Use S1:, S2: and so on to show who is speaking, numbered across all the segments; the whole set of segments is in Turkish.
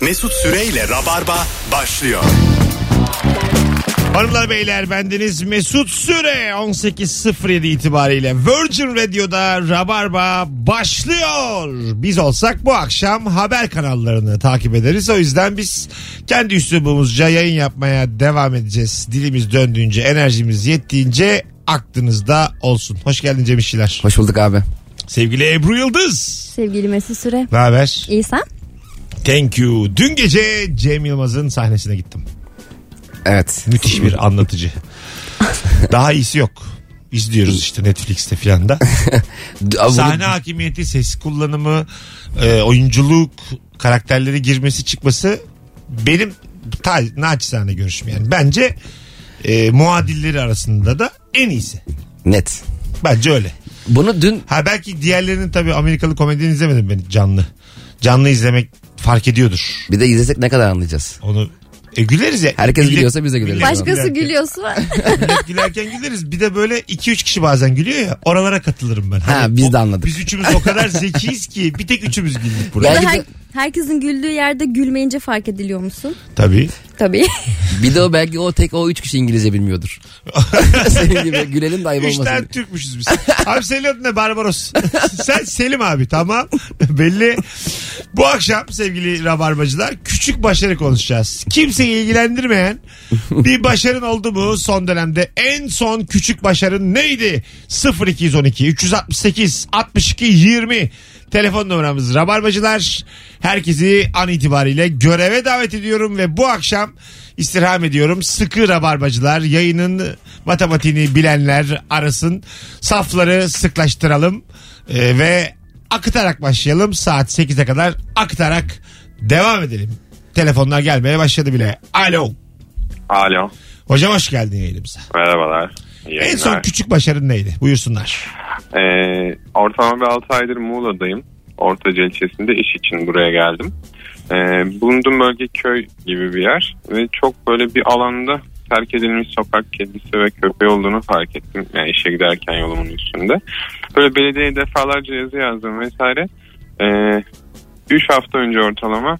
S1: Mesut Süreyle Rabarba başlıyor.
S2: Hanımlar beyler bendeniz Mesut Süre 18.07 itibariyle Virgin Radio'da Rabarba başlıyor. Biz olsak bu akşam haber kanallarını takip ederiz. O yüzden biz kendi üslubumuzca yayın yapmaya devam edeceğiz. Dilimiz döndüğünce enerjimiz yettiğince aklınızda olsun. Hoş geldin Cem İşçiler.
S3: Hoş bulduk abi.
S2: Sevgili Ebru Yıldız.
S4: Sevgili Mesut Süre.
S2: Ne haber?
S4: İyi sen?
S2: Thank you. Dün gece Cem Yılmaz'ın sahnesine gittim.
S3: Evet.
S2: Müthiş bir anlatıcı. Daha iyisi yok. İzliyoruz işte Netflix'te filan da.
S3: D- abi bunu-
S2: Sahne hakimiyeti, ses kullanımı, e, oyunculuk, karakterleri girmesi çıkması benim ta, naçizane görüşüm yani. Bence e, muadilleri arasında da en iyisi.
S3: Net.
S2: Bence öyle.
S3: Bunu dün
S2: Ha belki diğerlerinin tabii Amerikalı komedyen izlemedim ben canlı. Canlı izlemek fark ediyordur.
S3: bir de izlesek ne kadar anlayacağız?
S2: Onu e, güleriz ya.
S3: Herkes gülüyorsa biz de güleriz.
S2: Millet
S4: Başkası
S2: gülerken-
S4: gülüyorsa
S2: Millet gülerken güleriz. Bir de böyle 2-3 kişi bazen gülüyor ya. Oralara katılırım ben. Hani
S3: Ha, biz
S2: o-
S3: de anladık.
S2: Biz üçümüz o kadar zekiyiz ki bir tek üçümüz güldük
S4: ya
S2: burada.
S4: da
S3: Belki de-
S4: her- herkesin güldüğü yerde gülmeyince fark ediliyor musun?
S2: Tabii.
S4: Tabii.
S3: Bir de o belki o tek o üç kişi İngilizce bilmiyordur. Senin gibi gülelim de ayıp
S2: Üç tane
S3: olmasın.
S2: Türkmüşüz biz. abi senin adın ne? Barbaros. Sen Selim abi tamam. Belli. Bu akşam sevgili rabarbacılar küçük başarı konuşacağız. Kimseyi ilgilendirmeyen bir başarın oldu mu son dönemde? En son küçük başarın neydi? 0212 368 62 20 Telefon numaramız Rabarbacılar. Herkesi an itibariyle göreve davet ediyorum ve bu akşam istirham ediyorum. Sıkı Rabarbacılar yayının matematiğini bilenler arasın. Safları sıklaştıralım Ee, ve akıtarak başlayalım. Saat 8'e kadar akıtarak devam edelim. Telefonlar gelmeye başladı bile. Alo.
S5: Alo.
S2: Hocam hoş geldin yayınımıza.
S5: Merhabalar. İyi
S2: En son
S5: yayınlar.
S2: küçük başarın neydi? Buyursunlar.
S5: Ee, ortalama bir 6 aydır Muğla'dayım. Ortaca ilçesinde iş için buraya geldim. Ee, bulunduğum bölge köy gibi bir yer. Ve çok böyle bir alanda terk edilmiş sokak kedisi ve köpeği olduğunu fark ettim. Yani işe giderken yolumun üstünde. Böyle belediyeye defalarca yazı yazdım vesaire. 3 hafta önce ortalama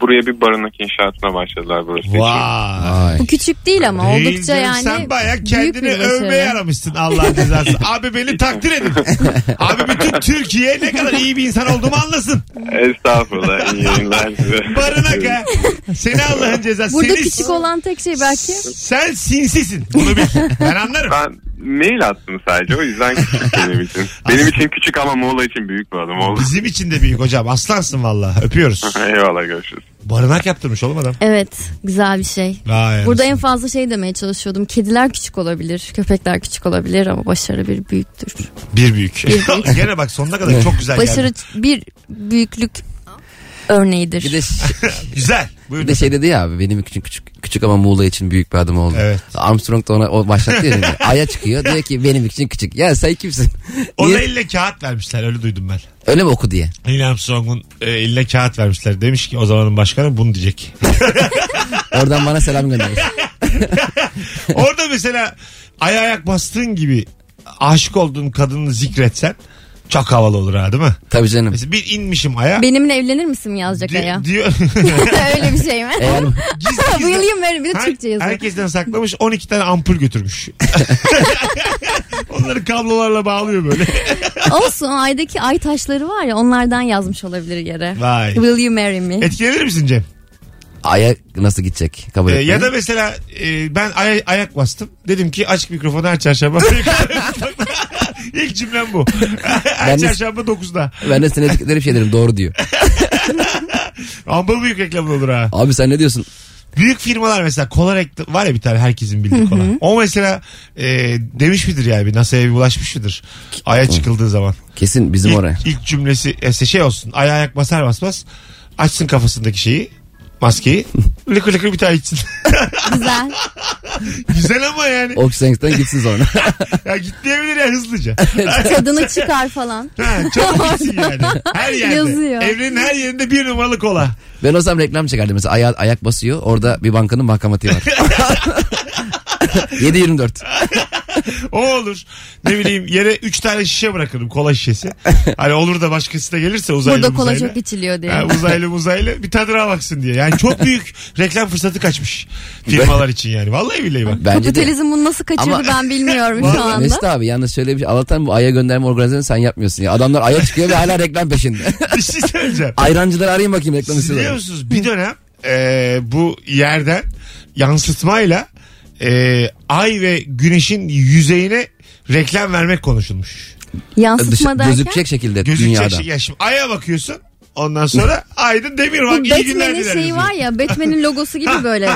S5: buraya bir barınak inşaatına başladılar burası için.
S2: Vay.
S3: Ay.
S4: Bu küçük değil ama
S2: Değil
S4: oldukça
S2: canım,
S4: yani
S2: Sen baya
S4: büyük
S2: kendini
S4: bir başarı.
S2: övmeye yaramışsın Allah cezası. Abi beni takdir edin. Abi bütün Türkiye ne kadar iyi bir insan olduğumu anlasın.
S5: Estağfurullah. iyi yayınlar size.
S2: Barınak ha. Seni Allah'ın cezası.
S4: Burada
S2: Seni-
S4: küçük olan tek şey belki
S2: Sen sinsisin. Bunu bil. Ben anlarım.
S5: Ben mail attım sadece o yüzden küçük benim için. Benim için küçük ama Muğla için büyük bir adam oldu.
S2: Bizim için de büyük hocam. Aslansın valla. Öpüyoruz.
S5: Eyvallah görüşürüz.
S2: Barınak yaptırmış oğlum adam.
S4: evet güzel bir şey.
S2: Vay
S4: Burada en
S2: anasını.
S4: fazla şey demeye çalışıyordum. Kediler küçük olabilir, köpekler küçük olabilir ama başarı bir büyüktür.
S2: bir büyük.
S4: Bir büyük.
S2: Gene bak sonuna kadar çok güzel
S4: Başarı
S2: geldi.
S4: bir büyüklük örneğidir.
S3: Bir de, ş-
S2: Güzel.
S3: bir
S2: Buyurun.
S3: de şey dedi ya abi benim için küçük küçük ama Muğla için büyük bir adım oldu.
S2: Evet.
S3: Armstrong da ona o başlattı ya. şimdi. Aya çıkıyor diyor ki benim için küçük. Ya sen kimsin?
S2: Ona
S3: Niye-
S2: elle kağıt vermişler. Öyle duydum ben.
S3: Öyle mi oku diye.
S2: Neil Armstrong'un e, eline kağıt vermişler. Demiş ki o zamanın başkanı bunu diyecek.
S3: Oradan bana selam gönder.
S2: Orada mesela ay ayak bastığın gibi aşık olduğun kadını zikretsen çok havalı olur ha değil mi?
S3: Tabii canım.
S2: Mesela bir inmişim aya.
S4: Benimle evlenir misin yazacak
S2: di-
S4: Aya?
S2: diyor.
S4: Öyle bir şey mi?
S3: Eğer
S2: Gizli gizli-
S4: Bayılayım böyle bir de
S2: E, Her-
S4: Türkçe yazıyor.
S2: herkesten saklamış 12 tane ampul götürmüş. Onları kablolarla bağlıyor böyle.
S4: Olsun aydaki ay taşları var ya onlardan yazmış olabilir yere.
S2: Vay.
S4: Will you marry me?
S2: Etkilenir misin Cem?
S3: aya nasıl gidecek? Kabul
S2: Ee,
S3: etmiyor.
S2: ya da mesela e, ben ay- ayak bastım. Dedim ki açık mikrofonu her çarşamba. İlk cümlem bu. her
S3: Ben de-
S2: çarşamba 9'da.
S3: Ben de sana dedikleri bir şey derim doğru diyor.
S2: Ama büyük reklam olur ha.
S3: Abi sen ne diyorsun?
S2: Büyük firmalar mesela kola reklam var ya bir tane herkesin bildiği kola. O mesela e, demiş midir yani bir NASA'ya bir bulaşmış mıdır? Ay'a çıkıldığı zaman.
S3: Kesin bizim oraya.
S2: İlk, ilk cümlesi ese şey olsun. Ay ayak basar basmaz açsın kafasındaki şeyi maskeyi. Lıkır lıkır bir tane içsin.
S4: Güzel.
S2: Güzel ama yani.
S3: Oxenx'ten gitsin sonra.
S2: Ya gitmeyebilir ya hızlıca.
S4: Tadını çıkar falan.
S2: Ha, çabuk gitsin yani. Her yerde.
S4: Yazıyor.
S2: Evrenin her yerinde bir numaralı kola.
S3: ben olsam reklam çekerdim mesela aya- ayak basıyor orada bir bankanın bankamatiği var. 7-24.
S2: O olur. Ne bileyim yere 3 tane şişe bırakırım kola şişesi. Hani olur da başkası da gelirse uzaylı
S4: Burada kola
S2: uzaylı.
S4: çok içiliyor diye.
S2: Ha, uzaylı uzaylı bir tadına baksın diye. Yani çok büyük reklam fırsatı kaçmış firmalar için yani. Vallahi billahi bak.
S3: Bence de.
S4: Kapitalizm bunu nasıl kaçırdı
S3: Ama-
S4: ben bilmiyorum
S2: Vallahi-
S4: şu anda.
S3: Mesut abi yalnız şöyle bir şey. Allah'tan bu Ay'a gönderme organizasyonu sen yapmıyorsun ya. Adamlar Ay'a çıkıyor ve hala reklam peşinde.
S2: Bir şey söyleyeceğim.
S3: Ayrancıları arayın bakayım reklam
S2: Siz biliyor
S3: istiyorlar.
S2: musunuz bir dönem e, bu yerden yansıtmayla e, ay ve güneşin yüzeyine reklam vermek konuşulmuş.
S4: Yansıtma derken
S3: Gözükecek şekilde
S2: Gözükecek
S3: dünyada.
S2: şey. Ya şimdi aya bakıyorsun ondan sonra aydın demir
S4: bu
S2: var. İyi günler
S4: Batman'in
S2: dileriz.
S4: şeyi var ya Batman'in logosu gibi böyle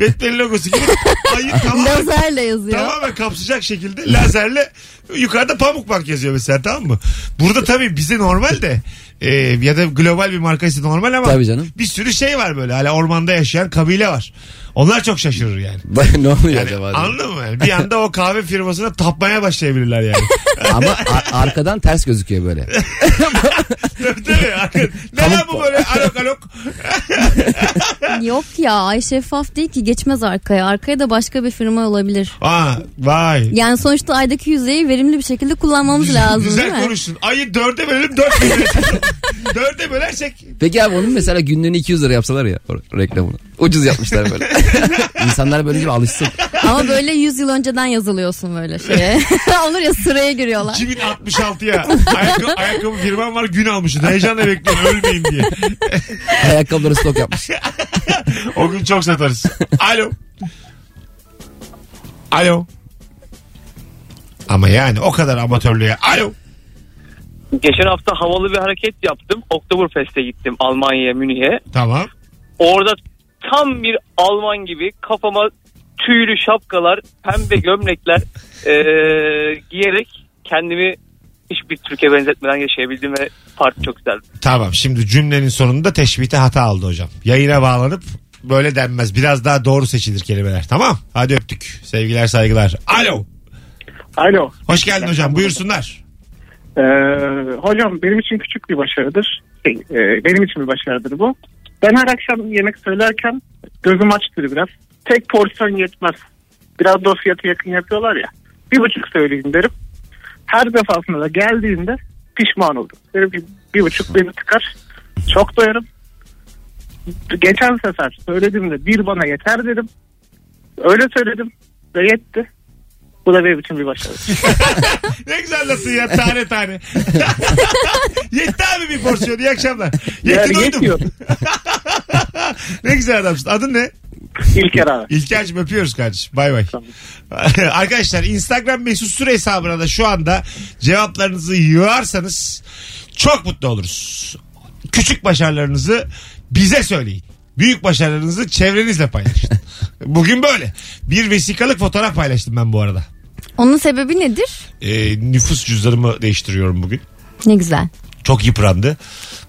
S2: Batman'in logosu gibi ayın tamamen,
S4: lazerle yazıyor.
S2: tamamen kapsayacak şekilde lazerle yukarıda pamuk bank yazıyor mesela tamam mı? Burada tabii bize normal de e, ya da global bir markası normal ama
S3: Tabii canım.
S2: bir sürü şey var böyle hala ormanda yaşayan kabile var. Onlar çok şaşırır yani.
S3: ne oluyor
S2: Yani
S3: acaba?
S2: anladın mı? Yani bir anda o kahve firmasına tapmaya başlayabilirler yani.
S3: Ama a- arkadan ters gözüküyor böyle.
S2: tabii tabii. Neden bu
S3: Pamuk-
S2: böyle alok alok?
S4: Yok ya ay şeffaf değil ki geçmez arkaya. Arkaya da başka bir firma olabilir.
S2: Aa, vay.
S4: Yani sonuçta aydaki yüzeyi verimli bir şekilde kullanmamız lazım
S2: Güzel
S4: değil mi?
S2: konuştun. Ayı dörde bölelim dört bölersek. dörde bölersek
S3: Peki abi onun mesela günlüğünü 200 lira yapsalar ya o reklamını. Ucuz yapmışlar böyle. İnsanlar böyle gibi alışsın.
S4: Ama böyle 100 yıl önceden yazılıyorsun böyle şeye. Olur ya sıraya giriyorlar.
S2: 2066'ya ayakkabı, ayakkabı firmam var gün almışsın. Heyecanla bekliyorum ölmeyeyim diye.
S3: Ayakkabıları stok yapmış.
S2: O gün çok satarız. Alo. Alo. Ama yani o kadar amatörlüğe. Alo.
S6: Geçen hafta havalı bir hareket yaptım. Oktoberfest'e gittim Almanya'ya, Münih'e.
S2: Tamam.
S6: Orada tam bir Alman gibi kafama tüylü şapkalar, pembe gömlekler eee, giyerek kendimi hiçbir Türkiye benzetmeden yaşayabildim ve parti çok güzeldi.
S2: Tamam şimdi cümlenin sonunda teşbihte hata aldı hocam. Yayına bağlanıp böyle denmez. Biraz daha doğru seçilir kelimeler. Tamam. Hadi öptük. Sevgiler saygılar. Alo.
S7: Alo.
S2: Hoş geldin hocam. Buyursunlar.
S7: Ee, hocam benim için küçük bir başarıdır. Şey, e, benim için bir başarıdır bu. Ben her akşam yemek söylerken gözüm açtır biraz. Tek porsiyon yetmez. Biraz da o fiyatı yakın yapıyorlar ya. Bir buçuk söyleyeyim derim. Her defasında da geldiğinde pişman oldum. Derim ki bir buçuk beni tıkar. Çok doyarım. Geçen sefer söylediğimde bir bana yeter dedim. Öyle söyledim ve yetti. Bu da benim için bir başarı.
S2: Ne güzel nasıl ya tane tane. Yetti abi bir porsiyon. İyi akşamlar. Yetti
S7: Yani
S2: doydum.
S7: yetiyor.
S2: ne güzel adamsın. Adın ne?
S7: İlker abi.
S2: İlker'cim öpüyoruz kardeşim. Bay bay.
S7: Tamam.
S2: Arkadaşlar Instagram mesut süre hesabına da şu anda cevaplarınızı yığarsanız çok mutlu oluruz. Küçük başarılarınızı bize söyleyin. Büyük başarılarınızı çevrenizle paylaşın. Bugün böyle. Bir vesikalık fotoğraf paylaştım ben bu arada.
S4: Onun sebebi nedir?
S2: Ee, nüfus cüzdanımı değiştiriyorum bugün.
S4: Ne güzel.
S2: Çok yıprandı.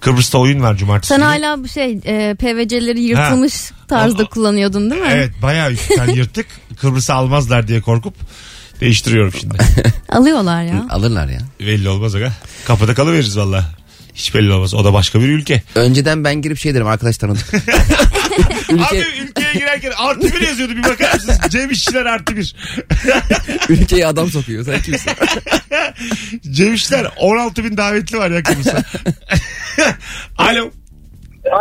S2: Kıbrıs'ta oyun var cumartesi.
S4: Sen
S2: günü.
S4: hala bu şey e, PVC'leri yırtılmış tarzda
S2: O-
S4: kullanıyordun değil mi?
S2: Evet bayağı üç tane yırtık. Kıbrıs'ı almazlar diye korkup değiştiriyorum şimdi.
S4: Alıyorlar ya.
S3: Alırlar ya.
S2: Belli olmaz aga. Kapıda kalıveririz valla. Hiç belli olmaz. O da başka bir ülke.
S3: Önceden ben girip şey derim arkadaş tanıdık.
S2: Abi
S3: Ülke,
S2: ülkeye girerken artı bir yazıyordu bir bakar mısınız? Cem İşçiler artı bir.
S3: ülkeye adam sokuyor. Sen kimsin?
S2: Cem İşçiler 16 bin davetli var ya Kıbrıs'ta. Alo.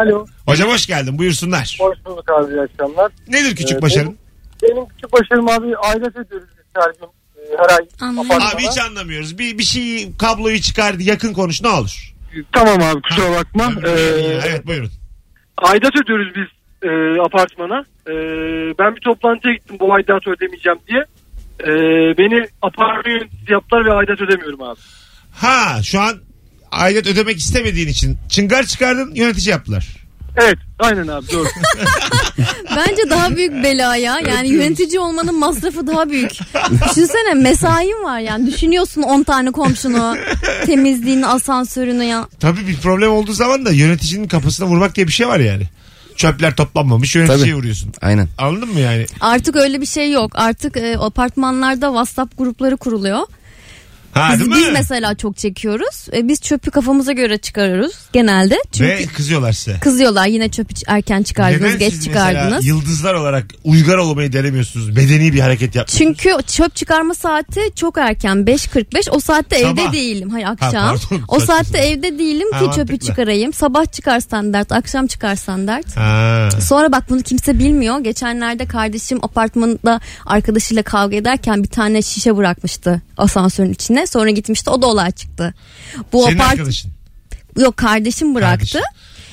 S8: Alo.
S2: Hocam hoş geldin buyursunlar.
S8: Hoş bulduk abi iyi akşamlar.
S2: Nedir küçük
S8: Ee,
S2: başarın?
S8: Benim, benim küçük başarım abi aidat ediyoruz biz her gün. Ee, her ay.
S4: Anladım.
S8: apartmana.
S2: Abi hiç anlamıyoruz. Bir, bir şey kabloyu çıkar yakın konuş ne olur.
S8: Tamam abi kusura bakma. Ee,
S2: evet buyurun.
S8: Aidat ödüyoruz biz e, apartmana. E, ben bir toplantıya gittim bu aidat ödemeyeceğim diye. E, beni apartman yöneticisi yaptılar ve aidat ödemiyorum abi.
S2: Ha şu an aidat ödemek istemediğin için çıngar çıkardın yönetici yaptılar.
S8: Evet aynen abi doğru.
S4: Bence daha büyük bela ya. Yani yönetici olmanın masrafı daha büyük. Düşünsene mesain var yani. Düşünüyorsun 10 tane komşunu, temizliğini, asansörünü ya.
S2: Tabii bir problem olduğu zaman da yöneticinin kafasına vurmak diye bir şey var yani. Çöpler toplanmamış yöneticiye
S3: Tabii.
S2: vuruyorsun.
S3: Aynen.
S2: Anladın mı yani?
S4: Artık öyle bir şey yok. Artık e, apartmanlarda WhatsApp grupları kuruluyor.
S2: Ha,
S4: Biz,
S2: değil
S4: biz
S2: mi?
S4: mesela çok çekiyoruz. E, biz çöpü kafamıza göre çıkarırız genelde. Çünkü
S2: Ve kızıyorlar size.
S4: kızıyorlar yine çöpü ç- erken çıkardınız,
S2: Neden
S4: geç
S2: siz mesela
S4: çıkardınız.
S2: yıldızlar olarak uygar olmayı denemiyorsunuz? Bedeni bir hareket yapmıyorsunuz.
S4: Çünkü çöp çıkarma saati çok erken 5.45 o saatte
S2: Sabah.
S4: evde değilim. Hayır akşam.
S2: pardon.
S4: o
S2: Saçma
S4: saatte
S2: sapan.
S4: evde değilim ki
S2: Ha,
S4: çöpü
S2: mantıklı.
S4: çıkarayım. Sabah çıkarsan dert, akşam çıkarsan dert.
S2: Ha.
S4: Sonra bak bunu kimse bilmiyor. Geçenlerde kardeşim apartmanda arkadaşıyla kavga ederken bir tane şişe bırakmıştı asansörün içine. Sonra gitmişti o da olay çıktı. Bu
S2: Senin
S4: apart
S2: arkadaşın.
S4: yok kardeşim bıraktı.
S2: Kardeşim.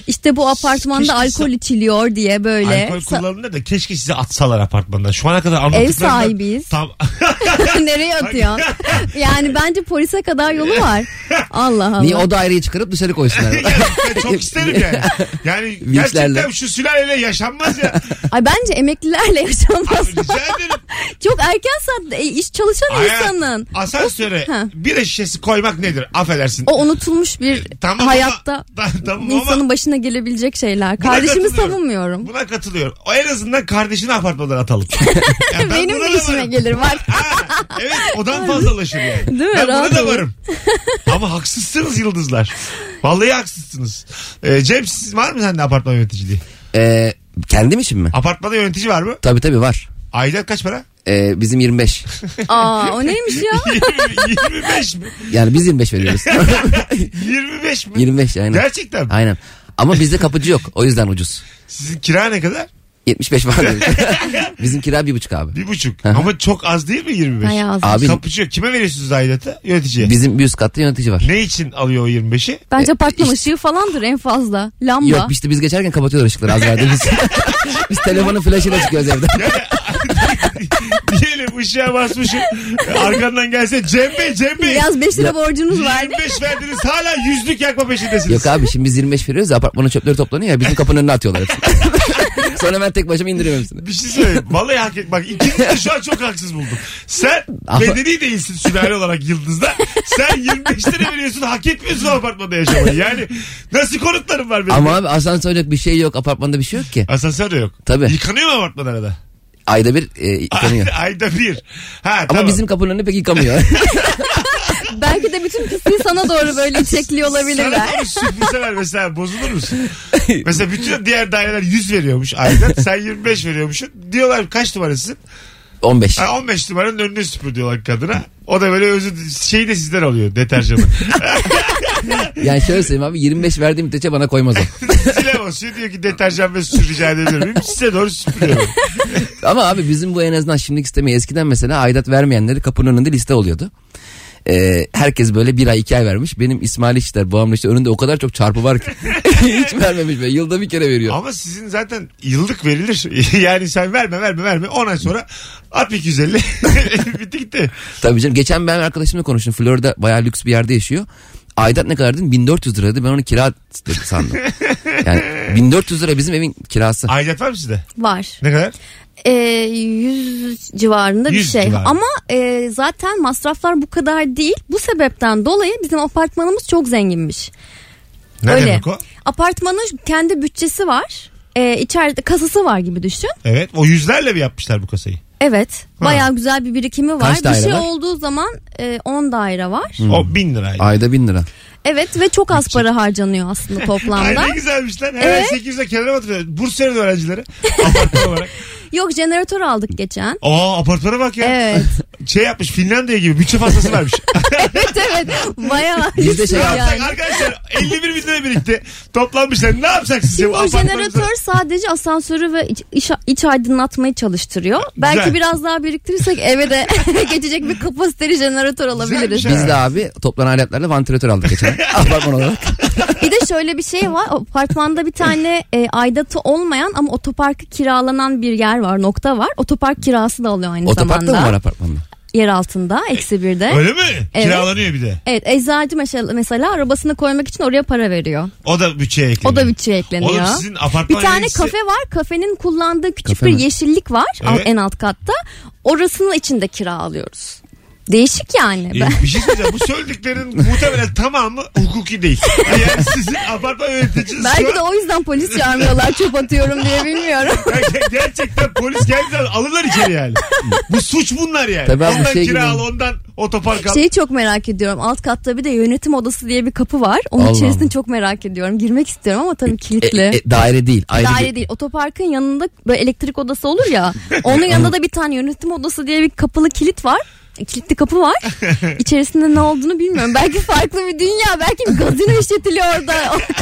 S4: İşte bu apartmanda
S2: Keşke
S4: alkol
S2: sa-
S4: içiliyor diye böyle.
S2: Alkol
S4: Sa-
S2: kullanılır da keşke sizi atsalar apartmandan. Şu ana kadar anlattıklarından...
S4: sahibiyiz.
S2: Tam...
S4: Nereye atıyorsun? yani bence polise kadar yolu var. Allah Allah.
S3: Niye o daireyi çıkarıp dışarı koysunlar?
S2: Ben çok isterim yani. Yani gerçekten
S3: Vinçlerle.
S2: şu sülaleyle yaşanmaz ya.
S4: Ay bence emeklilerle yaşanmaz.
S2: Rica ederim.
S4: Çok erken saatte e, iş çalışan
S2: Hayat,
S4: insanın.
S2: Asansöre
S4: Ha.
S2: bir şişesi koymak nedir? Affedersin.
S4: O unutulmuş bir
S2: E, Tamam
S4: hayatta
S2: ama- Ta- tamam ama-
S4: insanın başına gelebilecek şeyler.
S2: Buna
S4: Kardeşimi
S2: katılıyorum.
S4: savunmuyorum.
S2: Buna katılıyorum. O en azından kardeşini apartmadan atalım. Ya ben
S4: Benim
S2: buna
S4: de
S2: da
S4: işime
S2: varım.
S4: gelir bak.
S2: Ha, evet odan fazlalaşır yani.
S4: Değil mi?
S2: Ben buna
S4: Rahat
S2: da
S4: olur.
S2: varım. Ama haksızsınız yıldızlar. Vallahi haksızsınız. Ee, Cem siz var mı sende apartman yöneticiliği?
S3: ee, kendim için mi?
S2: Apartmanda yönetici var mı?
S3: Tabii tabii var.
S2: Ayda kaç para?
S3: Ee, bizim 25.
S4: Aa o neymiş
S2: E,
S4: ya?
S2: 25 mi?
S3: Yani biz 25 veriyoruz.
S2: 25 mi?
S3: 25 aynen.
S2: Gerçekten mi?
S3: Aynen. Ama bizde kapıcı yok. O yüzden ucuz.
S2: Sizin kira ne kadar?
S3: 75 var. demiş. bizim kira bir buçuk abi.
S2: Bir buçuk.
S3: Aha.
S2: Ama çok az değil mi 25?
S4: Hay ağzım.
S3: Abi-
S2: Kapıcı yok. Kime veriyorsunuz aidatı? Yöneticiye.
S3: Bizim bir üst katta yönetici var.
S2: Ne için alıyor o 25'i?
S4: Bence apartman ışığı falandır en fazla. Lamba.
S3: Yok
S2: şey-
S3: işte biz geçerken kapatıyorlar ışıkları az verdiğimiz. biz telefonun flaşıyla çıkıyoruz evden.
S2: Diyelim ışığa basmışım. Arkandan gelse Cem Bey Cem Bey.
S4: Biraz 5 lira
S3: Ya-
S4: borcunuz var.
S2: 25 verdiniz hala yüzlük yakma peşindesiniz.
S3: Yok abi şimdi biz 25 veriyoruz ya, apartmanın çöpleri toplanıyor ya bizim kapının önüne atıyorlar hepsini. Sonra ben tek başıma indiriyorum hepsini.
S2: Bir şey söyleyeyim. Vallahi hak et. Bak ikiniz de şu an çok haksız buldum. Sen
S3: Ama-
S2: bedeni değilsin sülale olarak yıldızda. Sen 25 lira veriyorsun hak etmiyorsun o apartmanda yaşamayı. Yani nasıl konutlarım var benim?
S3: Ama abi asansör yok bir şey yok apartmanda bir şey yok ki.
S2: Asansör de yok.
S3: Tabii.
S2: Yıkanıyor mu apartman arada?
S3: Ayda bir e, yıkanıyor.
S2: Ay- Ayda bir. Ha,
S3: Ama
S2: tamam.
S3: bizim kapının önü pek yıkamıyor.
S4: Belki de bütün pisliği sana doğru böyle çekliyor olabilirler.
S2: Sana doğru süpürseler mesela bozulur musun? mesela bütün diğer daireler 100 veriyormuş ayda. Sen 25 veriyormuşsun. Diyorlar kaç numarasın?
S3: 15.
S2: Ha, 15 numaranın önünü süpür diyorlar kadına. O da böyle özü şeyi de sizden alıyor deterjanı.
S3: Yani şöyle söyleyeyim abi 25 verdiğim müddetçe bana koymaz o.
S2: Zile basıyor diyor ki deterjan ve su rica edebilir miyim? Size doğru süpürüyorum.
S3: Ama abi bizim bu en azından şimdiki sistemi eskiden mesela aidat vermeyenleri kapının önünde liste oluyordu. Ee, herkes böyle bir ay iki ay vermiş. Benim İsmail İşler babamın işte önünde o kadar çok çarpı var ki. Hiç vermemiş be. Yılda bir kere veriyor.
S2: Ama sizin zaten yıllık verilir. yani sen verme verme verme. 10 ay sonra at 250. Bitti gitti.
S3: Tabii canım. Geçen ben arkadaşımla konuştum. Florida bayağı lüks bir yerde yaşıyor. Aidat ne kadar dedim? 1400 liraydı. Ben onu kira sandım. Yani 1400 lira bizim evin kirası.
S2: Aidat var mı sizde?
S4: Var.
S2: Ne kadar?
S4: Ee, 100 civarında bir
S2: 100
S4: şey.
S2: civarı.
S4: Ama e, zaten masraflar bu kadar değil. Bu sebepten dolayı bizim apartmanımız çok zenginmiş.
S2: Ne
S4: Öyle.
S2: demek o?
S4: Apartmanın kendi bütçesi var. Ee, içeride kasası var gibi düşün.
S2: Evet. O yüzlerle mi yapmışlar bu kasayı?
S4: Evet. Bayağı güzel bir birikimi var.
S3: Kaç
S4: bir
S3: daire
S4: şey
S3: var?
S4: olduğu zaman 10 daire var.
S2: O bin liraydı.
S3: Ayda 1000 lira.
S4: Evet ve çok az para harcanıyor aslında
S2: Ay
S4: toplamda.
S2: ne güzelmiş lan. Her
S4: Evet.
S2: 800'e kenara batırıyor. Bursa'nın öğrencileri. Apartman olarak.
S4: Yok jeneratör aldık geçen.
S2: Aa apartmana bak ya.
S4: Evet.
S2: Şey yapmış Finlandiya gibi bütçe fazlası vermiş.
S4: evet evet. Bayağı
S3: Biz de şey
S4: lüks
S2: Yapsak
S4: yani.
S2: Arkadaşlar 51 bin lira birikti. Toplanmışlar. Ne yapsak sizce
S4: Şimdi
S2: bu
S4: o
S2: apartmanımıza?
S4: jeneratör sadece asansörü ve iç, iç, iç aydınlatmayı çalıştırıyor.
S2: Güzel.
S4: Belki biraz daha biriktirirsek eve de geçecek bir kapasiteli jeneratör alabiliriz.
S2: Güzelmiş ha.
S3: Biz de abi toplanan aletlerle vantilatör aldık geçen. Apartman olarak.
S4: Bir de şöyle bir şey var. Apartmanda bir tane e, aidatı olmayan ama otoparkı kiralanan bir yer var. Nokta var. Otopark kirası da alıyor aynı
S3: Otoparkta mı
S4: zamanda.
S3: var apartmanda?
S4: Yer altında. Eksi birde.
S2: Öyle mi?
S4: Evet.
S2: Kiralanıyor bir de.
S4: Evet eczacı mesela, mesela arabasını koymak için oraya para veriyor.
S2: O da bütçeye ekleniyor.
S4: O da bütçeye ekleniyor.
S2: Oğlum sizin apartman
S4: bir tane
S2: yöneticisi-
S4: kafe var. Kafenin kullandığı küçük
S3: Kafe
S4: bir
S3: mi?
S4: yeşillik var
S2: Evet.
S4: alt- en alt katta. Orasının içinde kira alıyoruz. Değişik yani. Ben...
S2: Ee, bir şey söyleyeceğim. Bu söylediklerin muhtemelen tamamı hukuki değil. Yani sizin apartman yöneticisi
S4: Belki
S2: şu
S4: de
S2: an-
S4: o yüzden polis çağırmıyorlar çöp atıyorum diye bilmiyorum.
S2: Ger- gerçekten polis geldiği zaman alırlar içeri yani. Bu suç bunlar yani.
S3: Tabii abi,
S2: ondan
S3: şey
S2: kira
S3: gibi.
S2: al, ondan otopark al.
S4: Şeyi çok merak ediyorum. Alt katta bir de yönetim odası diye bir kapı var. Onun
S3: Allah
S4: içerisini
S3: Allah.
S4: çok merak ediyorum. Girmek istiyorum ama tabii kilitli.
S3: E, e, daire değil. Ayrı bir-
S4: Daire değil. Otoparkın yanında böyle elektrik odası olur ya. Onun yanında da bir tane yönetim odası diye bir kapılı kilit var. E, Kilitli kapı var. İçerisinde ne olduğunu bilmiyorum. Belki farklı bir dünya. Belki bir gazino işletiliyor orada.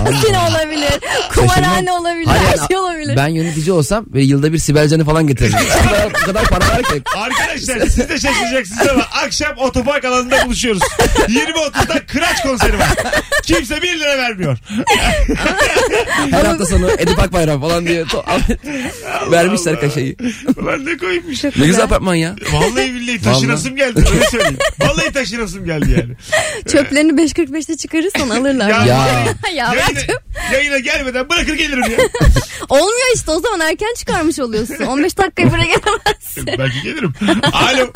S4: gazino olabilir. Kumarhane
S3: Şaşırmam.
S4: olabilir.
S3: Hayır,
S4: her şey olabilir.
S3: Ben yönetici olsam ve yılda bir Sibel Can'ı falan getiririm. o, kadar, o kadar para var ki.
S2: Arkadaşlar siz de şaşıracaksınız ama akşam otopark alanında buluşuyoruz. 20.30'da kıraç konseri var. Kimse 1 lira vermiyor.
S3: Her hafta sonu Edip Akbayram falan diye to- vermişler
S2: Allah.
S3: kaşeyi.
S2: Ulan ne koymuş.
S3: Ne güzel apartman ya.
S2: Vallahi billahi taşınasım geldi. Öyle söyleyeyim. Vallahi taşınasım geldi yani.
S4: Çöplerini 5.45'te çıkarırsan alırlar.
S2: Ya.
S3: Ya.
S4: ya ben
S2: Yayına, yayına gelmeden bırakır gelirim ya.
S4: Olmuyor işte o zaman erken çıkarmış oluyorsun. 15 dakikaya buraya gelemezsin.
S2: Belki gelirim. Alo.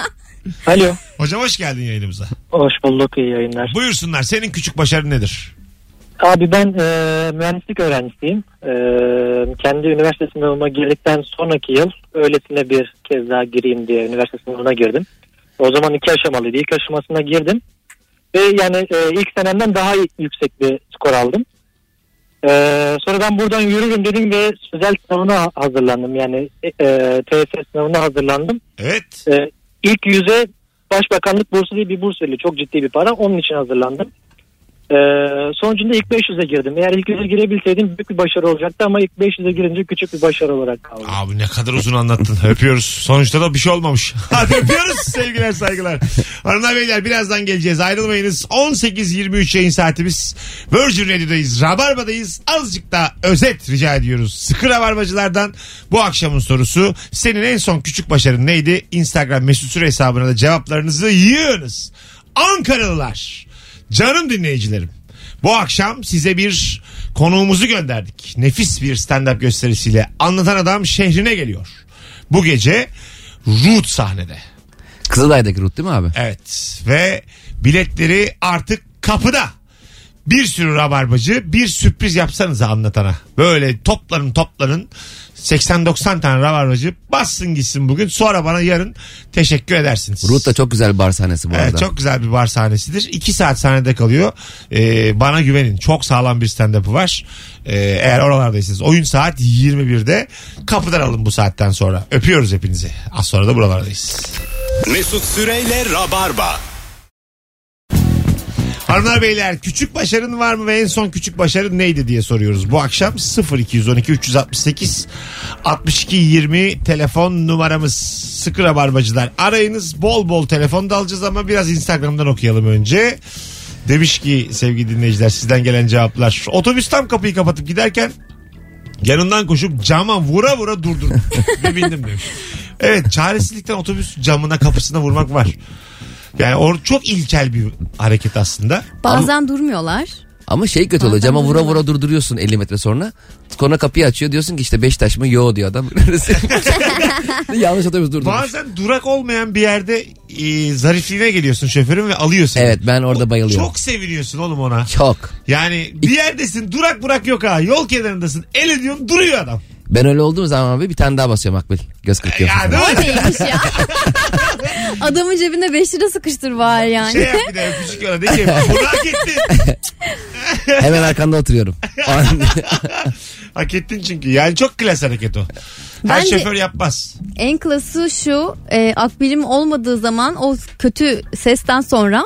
S9: Alo.
S2: Hocam hoş geldin yayınımıza.
S9: Hoş bulduk iyi yayınlar.
S2: Buyursunlar. Senin küçük başarın nedir?
S9: Abi ben e, mühendislik öğrencisiyim. E, kendi üniversite sınavıma girdikten sonraki yıl öylesine bir kez daha gireyim diye üniversite sınavına girdim. O zaman iki aşamalıydı. İlk aşamasına girdim. Ve yani e, ilk senemden daha yüksek bir skor aldım. E, sonra ben buradan yürürüm dedim ve özel sınavına hazırlandım. Yani e, e, TYT sınavına hazırlandım.
S2: Evet.
S9: Ee, ilk yüze başbakanlık bursu diye bir burs veriliyor. Çok ciddi bir para. Onun için hazırlandım. Ee, sonucunda ilk 500'e girdim. Eğer ilk 100'e girebilseydim büyük bir başarı olacaktı ama ilk 500'e girince küçük bir başarı olarak kaldı.
S2: Abi ne kadar uzun anlattın. Öpüyoruz. Sonuçta da bir şey olmamış. Hadi öpüyoruz. Sevgiler saygılar. Hanımlar beyler birazdan geleceğiz. Ayrılmayınız. 18.23 yayın saatimiz. Virgin Radio'dayız. Rabarba'dayız. Azıcık da özet rica ediyoruz. Sıkı Rabarbacılardan bu akşamın sorusu. Senin en son küçük başarın neydi? Instagram mesut süre hesabına da cevaplarınızı yığınız. Ankaralılar. Canım dinleyicilerim. Bu akşam size bir konuğumuzu gönderdik. Nefis bir stand-up gösterisiyle anlatan adam şehrine geliyor. Bu gece Root sahnede.
S3: Kızılay'daki Ruth değil mi abi?
S2: Evet ve biletleri artık kapıda. Bir sürü rabarbacı bir sürpriz yapsanız anlatana. Böyle topların topların 80-90 tane rabarbacı bassın gitsin bugün sonra bana yarın teşekkür edersiniz.
S3: Ruth da çok güzel bar sahnesi bu
S2: Evet,
S3: arada.
S2: çok güzel bir bar sahnesidir. 2 saat sahnede kalıyor. Ee, bana güvenin. Çok sağlam bir stand-up'ı var. Ee, eğer oralardaysanız. Oyun saat 21'de. Kapıdan alın bu saatten sonra. Öpüyoruz hepinizi. Az sonra da buralardayız.
S1: Mesut Süreyle Rabarba.
S2: Hanımlar beyler küçük başarın var mı ve en son küçük başarın neydi diye soruyoruz. Bu akşam 0212 368 62 20 telefon numaramız. Sıkı rabarbacılar arayınız bol bol telefon da alacağız ama biraz Instagram'dan okuyalım önce. Demiş ki sevgili dinleyiciler sizden gelen cevaplar. Otobüs tam kapıyı kapatıp giderken yanından koşup cama vura vura durdurdum ve bindim demiş. Evet çaresizlikten otobüs camına kapısına vurmak var. Yani or çok ilkel bir hareket aslında.
S4: Bazen durmuyorlar.
S3: Ama şey kötü oluyor.
S4: Bazen
S3: Cama vura
S4: duruyorlar.
S3: vura durduruyorsun 50 metre sonra. Sonra kapıyı açıyor. Diyorsun ki işte Beşiktaş mı? Yo diyor adam. Yanlış otobüs durdurmuş.
S2: Bazen durak olmayan bir yerde e, zarifliğine geliyorsun şoförün ve alıyor seni.
S3: Evet ben orada bayılıyorum.
S2: Çok seviniyorsun oğlum ona.
S3: Çok.
S2: Yani bir yerdesin durak burak yok ha. Yol kenarındasın. El ediyorsun duruyor adam.
S3: Ben öyle olduğum zaman abi bir tane daha basıyorum akbil. Göz kırpıyorum.
S2: Ya değil
S4: O
S2: mi?
S4: neymiş ya? Adamın cebinde 5 lira sıkıştır var yani.
S2: Şey yap bir de öpücük yola de ki bunu hak ettin.
S3: Hemen arkanda oturuyorum. O an-
S2: hak ettin çünkü. Yani çok klas hareket o. Her
S4: Bence-
S2: şoför yapmaz.
S4: En klası şu e, akbilim olmadığı zaman o kötü sesten sonra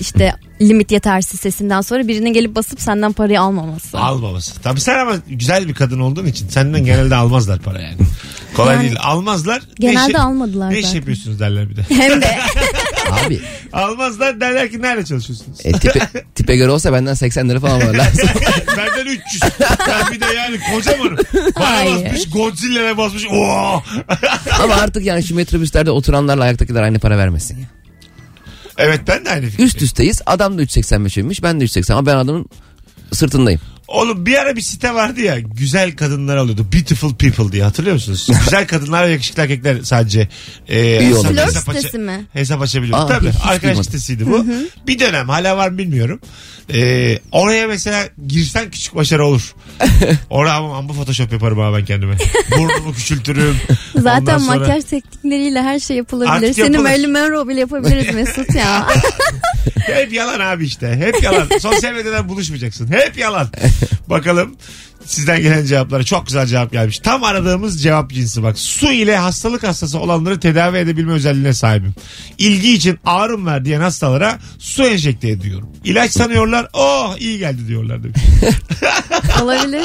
S4: işte limit yetersiz sesinden sonra birinin gelip basıp senden parayı almaması.
S2: Almaması. Tabii sen ama güzel bir kadın olduğun için senden genelde almazlar para yani. Kolay
S4: Yani-
S2: değil. Almazlar.
S4: Genelde
S2: Ne işe-
S4: almadılar
S2: Ne iş
S4: zaten.
S2: yapıyorsunuz derler bir de.
S4: Hem de
S3: abi
S2: Almazlar derler ki nerede çalışıyorsunuz?
S3: e, tipe, tipe göre olsa benden 80 lira falan var lazım.
S2: Benden 300. Ben bir de yani kocamanım. Bana
S4: Hayır.
S2: basmış Godzilla'ya basmış. Oo!
S3: Ama artık yani şu metrobüslerde oturanlarla ayaktakiler aynı para vermesin. ya.
S2: Evet ben de aynı fikir.
S3: Üst üsteyiz. Adam da 3.85 ömüş. Ben de 3.80 ama ben adamın sırtındayım.
S2: Oğlum bir ara bir site vardı ya güzel kadınlar alıyordu. Beautiful people diye hatırlıyor musunuz? güzel kadınlar ve yakışıklı erkekler sadece e, hesap-
S3: olan.
S2: hesap
S4: Flört
S2: aça-
S4: sitesi mi?
S2: Hesap açabiliyor.
S3: Aa,
S2: Tabii
S3: hiç
S2: arkadaş
S3: duymadım.
S2: sitesiydi bu. Bir dönem hala var mı bilmiyorum. E, oraya mesela girsen küçük başarı olur. Orada ama ama photoshop yaparım abi ben kendime. Burnumu küçültürüm. Ondan
S4: Zaten
S2: sonra-
S4: makyaj teknikleriyle her şey yapılabilir.
S2: Artık
S4: Seni
S2: yapılır.
S4: Marilyn Monroe bile yapabiliriz Mesut ya.
S2: Hep yalan abi işte. Hep yalan. Sosyal medyadan buluşmayacaksın. Hep yalan. Bakalım sizden gelen cevaplara. Çok güzel cevap gelmiş. Tam aradığımız cevap cinsi bak. Su ile hastalık hastası olanları tedavi edebilme özelliğine sahibim. İlgi için ağrım var diyen hastalara su enjekte ediyorum. İlaç sanıyorlar. Oh iyi geldi diyorlar demiş.
S4: Olabilir.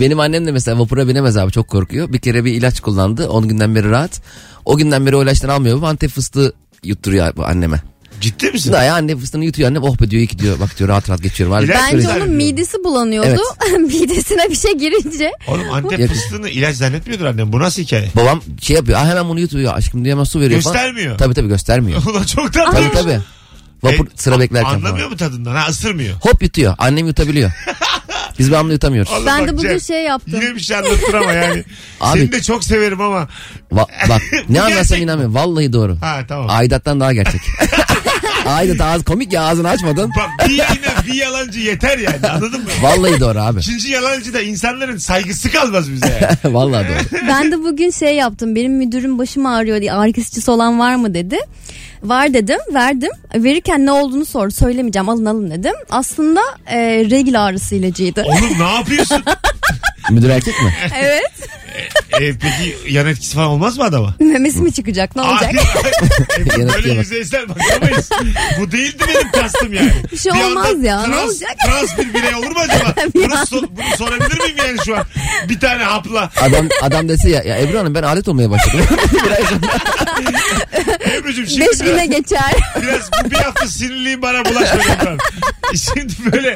S3: Benim annem de mesela vapura binemez abi çok korkuyor. Bir kere bir ilaç kullandı 10 günden beri rahat. O günden beri o ilaçtan almıyor. Bu Antep fıstığı yutturuyor abi anneme.
S2: Ciddi misin?
S3: Daha ya Antep fıstığını yutuyor annem. Oh be diyor iyi ki diyor. Bak diyor rahat rahat geçiyorum. Abi.
S2: İlaç
S4: Bence
S2: Güzel
S4: onun
S2: diyorum.
S4: midesi bulanıyordu. Midesine bir şey girince
S2: Oğlum Antep fıstığını ilaç zannetmiyordur annem. Bu nasıl hikaye?
S3: Babam şey yapıyor. Ah hemen bunu yutuyor. Aşkım diye hemen su veriyor falan.
S2: Göstermiyor.
S3: Tabii tabii göstermiyor.
S2: Ulan çok tatlı.
S3: tabii tabii. Vapur
S2: E,
S3: sıra beklerken falan.
S2: Anlamıyor mu tadından? Ha ısırmıyor.
S3: Hop yutuyor. Annem yutabiliyor. Biz babamla yutamıyoruz.
S2: Oğlum
S4: ben
S2: bak
S4: de bugün
S2: Cem,
S4: şey yaptım.
S2: Yine bir şey anlattın ama yani.
S3: Abi-
S2: Seni de çok severim ama.
S3: Va- bak
S2: Bu
S3: ne anlarsam
S2: gerçek mi?
S3: inanmıyorum. Vallahi doğru.
S2: Ha tamam.
S3: Aidattan daha gerçek. Aidat ağız komik ya ağzını açmadın.
S2: Bak bir yine bir yalancı yeter yani anladın mı?
S3: Vallahi doğru abi.
S2: İkinci yalancı da insanların saygısı kalmaz bize yani.
S3: Vallahi doğru.
S4: Ben de bugün şey yaptım. Benim müdürüm başım ağrıyor diye arkasçısı olan var mı dedi. Var dedim verdim. Verirken ne olduğunu sordu. Söylemeyeceğim alın alın dedim. Aslında e, regl ağrısı ilacıydı.
S2: Oğlum ne yapıyorsun?
S3: Müdür erkek mi?
S4: evet.
S2: E, peki yan etkisi falan olmaz mı adama?
S4: Memesi mi çıkacak ne olacak?
S2: Abi, e,
S3: Yanıt
S2: böyle
S3: yok.
S2: yüzeysel bakamayız. Bu değildi benim kastım yani.
S4: Bir şey
S2: yandan
S4: olmaz ya, ne olacak?
S2: Trans bir birey olur mu acaba? bunu, so- bunu sorabilir miyim yani şu an? Bir tane hapla.
S3: Adam adam dese ya, ya Ebru Hanım ben alet olmaya başladım. Bir ay sonra-
S2: Ebru'cum şimdi
S4: Beş güne geçer.
S2: Biraz bu bir hafta sinirliyim bana bulaşmayın. ben. Şimdi böyle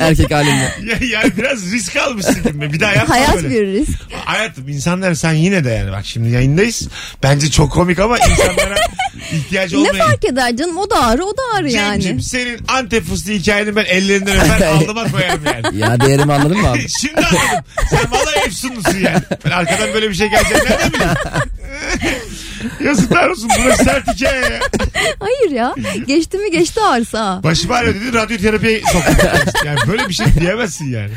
S3: erkek halimle.
S2: ya, ya biraz risk almışsın gibi. Bir daha yapma
S4: Hayat
S2: böyle.
S4: bir risk.
S2: Hayatım insanlar sen yine de yani bak şimdi yayındayız. Bence çok komik ama insanlara ihtiyacı
S4: Ne
S2: olmayan.
S4: fark eder canım o da ağrı o da ağrı yani.
S2: Cem'cim senin Antep fıstığı hikayeni ben ellerinden öper aldıma koyarım yani.
S3: Ya değerimi anladın mı abi?
S2: Şimdi anladım. Sen valla efsunlusun yani. Ben arkadan böyle bir şey gelecek nereden bileyim? Yazıklar olsun. Burası sert hikaye ya.
S4: Hayır ya geçti mi geçti ağrısı ha.
S2: Başım ağrıyor dedi radyoterapiye soktum. Yani böyle bir şey diyemezsin yani.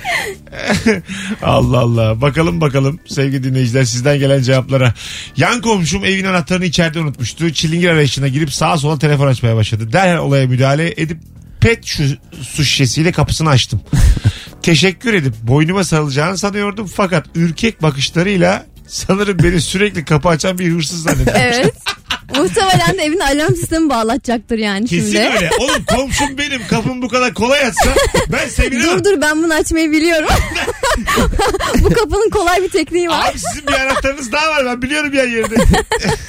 S2: Allah Allah. Bakalım bakalım sevgili dinleyiciler sizden gelen cevaplara. Yan komşum evin anahtarını içeride unutmuştu. Çilingir arayışına girip sağa sola telefon açmaya başladı. Derhal olaya müdahale edip pet şu su şişesiyle kapısını açtım. Teşekkür edip boynuma sarılacağını sanıyordum fakat ürkek bakışlarıyla sanırım beni sürekli kapı açan bir hırsız zannediyor.
S4: Evet. Muhtemelen de evin alarm sistemi bağlatacaktır yani
S2: Kesin
S4: şimdi.
S2: öyle. Oğlum komşum benim kapım bu kadar kolay açsa ben sevinirim.
S4: Dur dur ben bunu açmayı biliyorum. Bu kapının kolay bir tekniği var.
S2: Abi sizin bir anahtarınız daha var ben biliyorum yer yerinde.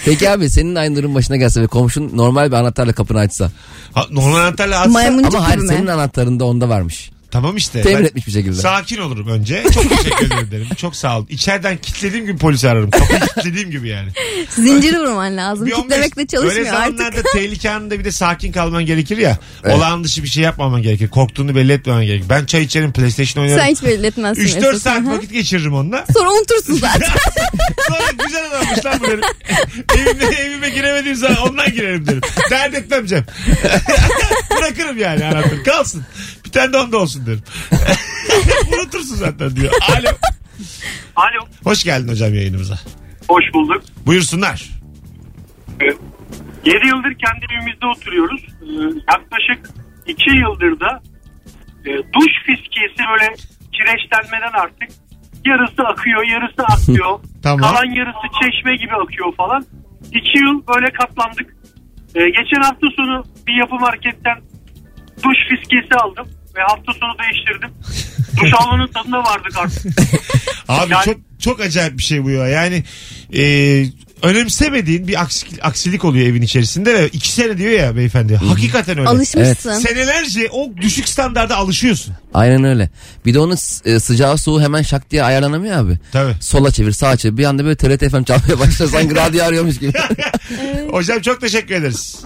S3: Peki abi senin aynı durum başına gelse ve komşun normal bir anahtarla kapını açsa.
S2: Ha, normal anahtarla atsa
S4: Maymuncuk
S3: Ama
S4: gibi
S3: hayır
S4: mi?
S3: senin anahtarında onda varmış.
S2: tamam işte.
S3: Temin
S2: Ben
S3: etmiş bir şekilde.
S2: Sakin olurum önce. Çok teşekkür ederim derim. Çok sağ olun. İçeriden kilitlediğim gibi polisi ararım. Kapıyı kilitlediğim gibi yani.
S4: Zinciri vurman lazım.
S2: Bir on beş-
S4: Kitlemek de
S2: Öyle
S4: çalışmıyor artık.
S2: zamanlarda tehlike anında bir de sakin kalman gerekir ya.
S3: Evet.
S2: Olağan dışı bir şey yapmaman gerekir. Korktuğunu belli etmemen gerekir. Ben çay içerim PlayStation
S4: Sen
S2: oynarım.
S4: hiç belli etmezsin.
S2: 3-4
S4: Mesut.
S2: saat
S4: Aha.
S2: vakit geçiririm onunla.
S4: Sonra unutursun zaten.
S2: Sonra güzel adammış lan bu derim. Evime, evime giremediğim zaman ondan girerim derim. Dert etmem Cem. Bırakırım yani anahtarı. Kalsın. Bir tane de onda olsun derim. Unutursun zaten diyor. Alo.
S8: Alo.
S2: Hoş geldin hocam yayınımıza.
S8: Hoş bulduk.
S2: Buyursunlar.
S8: 7 yıldır kendi evimizde oturuyoruz. Ee, Yaklaşık 2 yıldır da e, duş fiskiyesi böyle kireçlenmeden artık yarısı akıyor, yarısı akıyor.
S2: Tamam.
S8: Kalan yarısı çeşme gibi akıyor falan. 2 yıl böyle katlandık. Ee, geçen hafta sonu bir yapı marketten duş fiskiyesi aldım ve hafta sonu değiştirdim. duş almanın tadına vardık artık.
S2: Abi
S8: Yani-
S2: çok çok acayip bir şey bu ya. Yani e, önemsemediğin bir aksilik, aksilik oluyor evin içerisinde ve iki sene diyor ya beyefendi. Hakikaten öyle.
S4: Alışmışsın.
S2: Senelerce o düşük standarda alışıyorsun.
S3: Aynen öyle. Bir de onun s- e, sıcağı soğuğu hemen şak diye ayarlanamıyor abi.
S2: Tabii.
S3: Sola çevir sağa çevir. Bir anda böyle TRT FM çalmaya başlar sanki radyo arıyormuş gibi.
S2: Hocam çok teşekkür ederiz.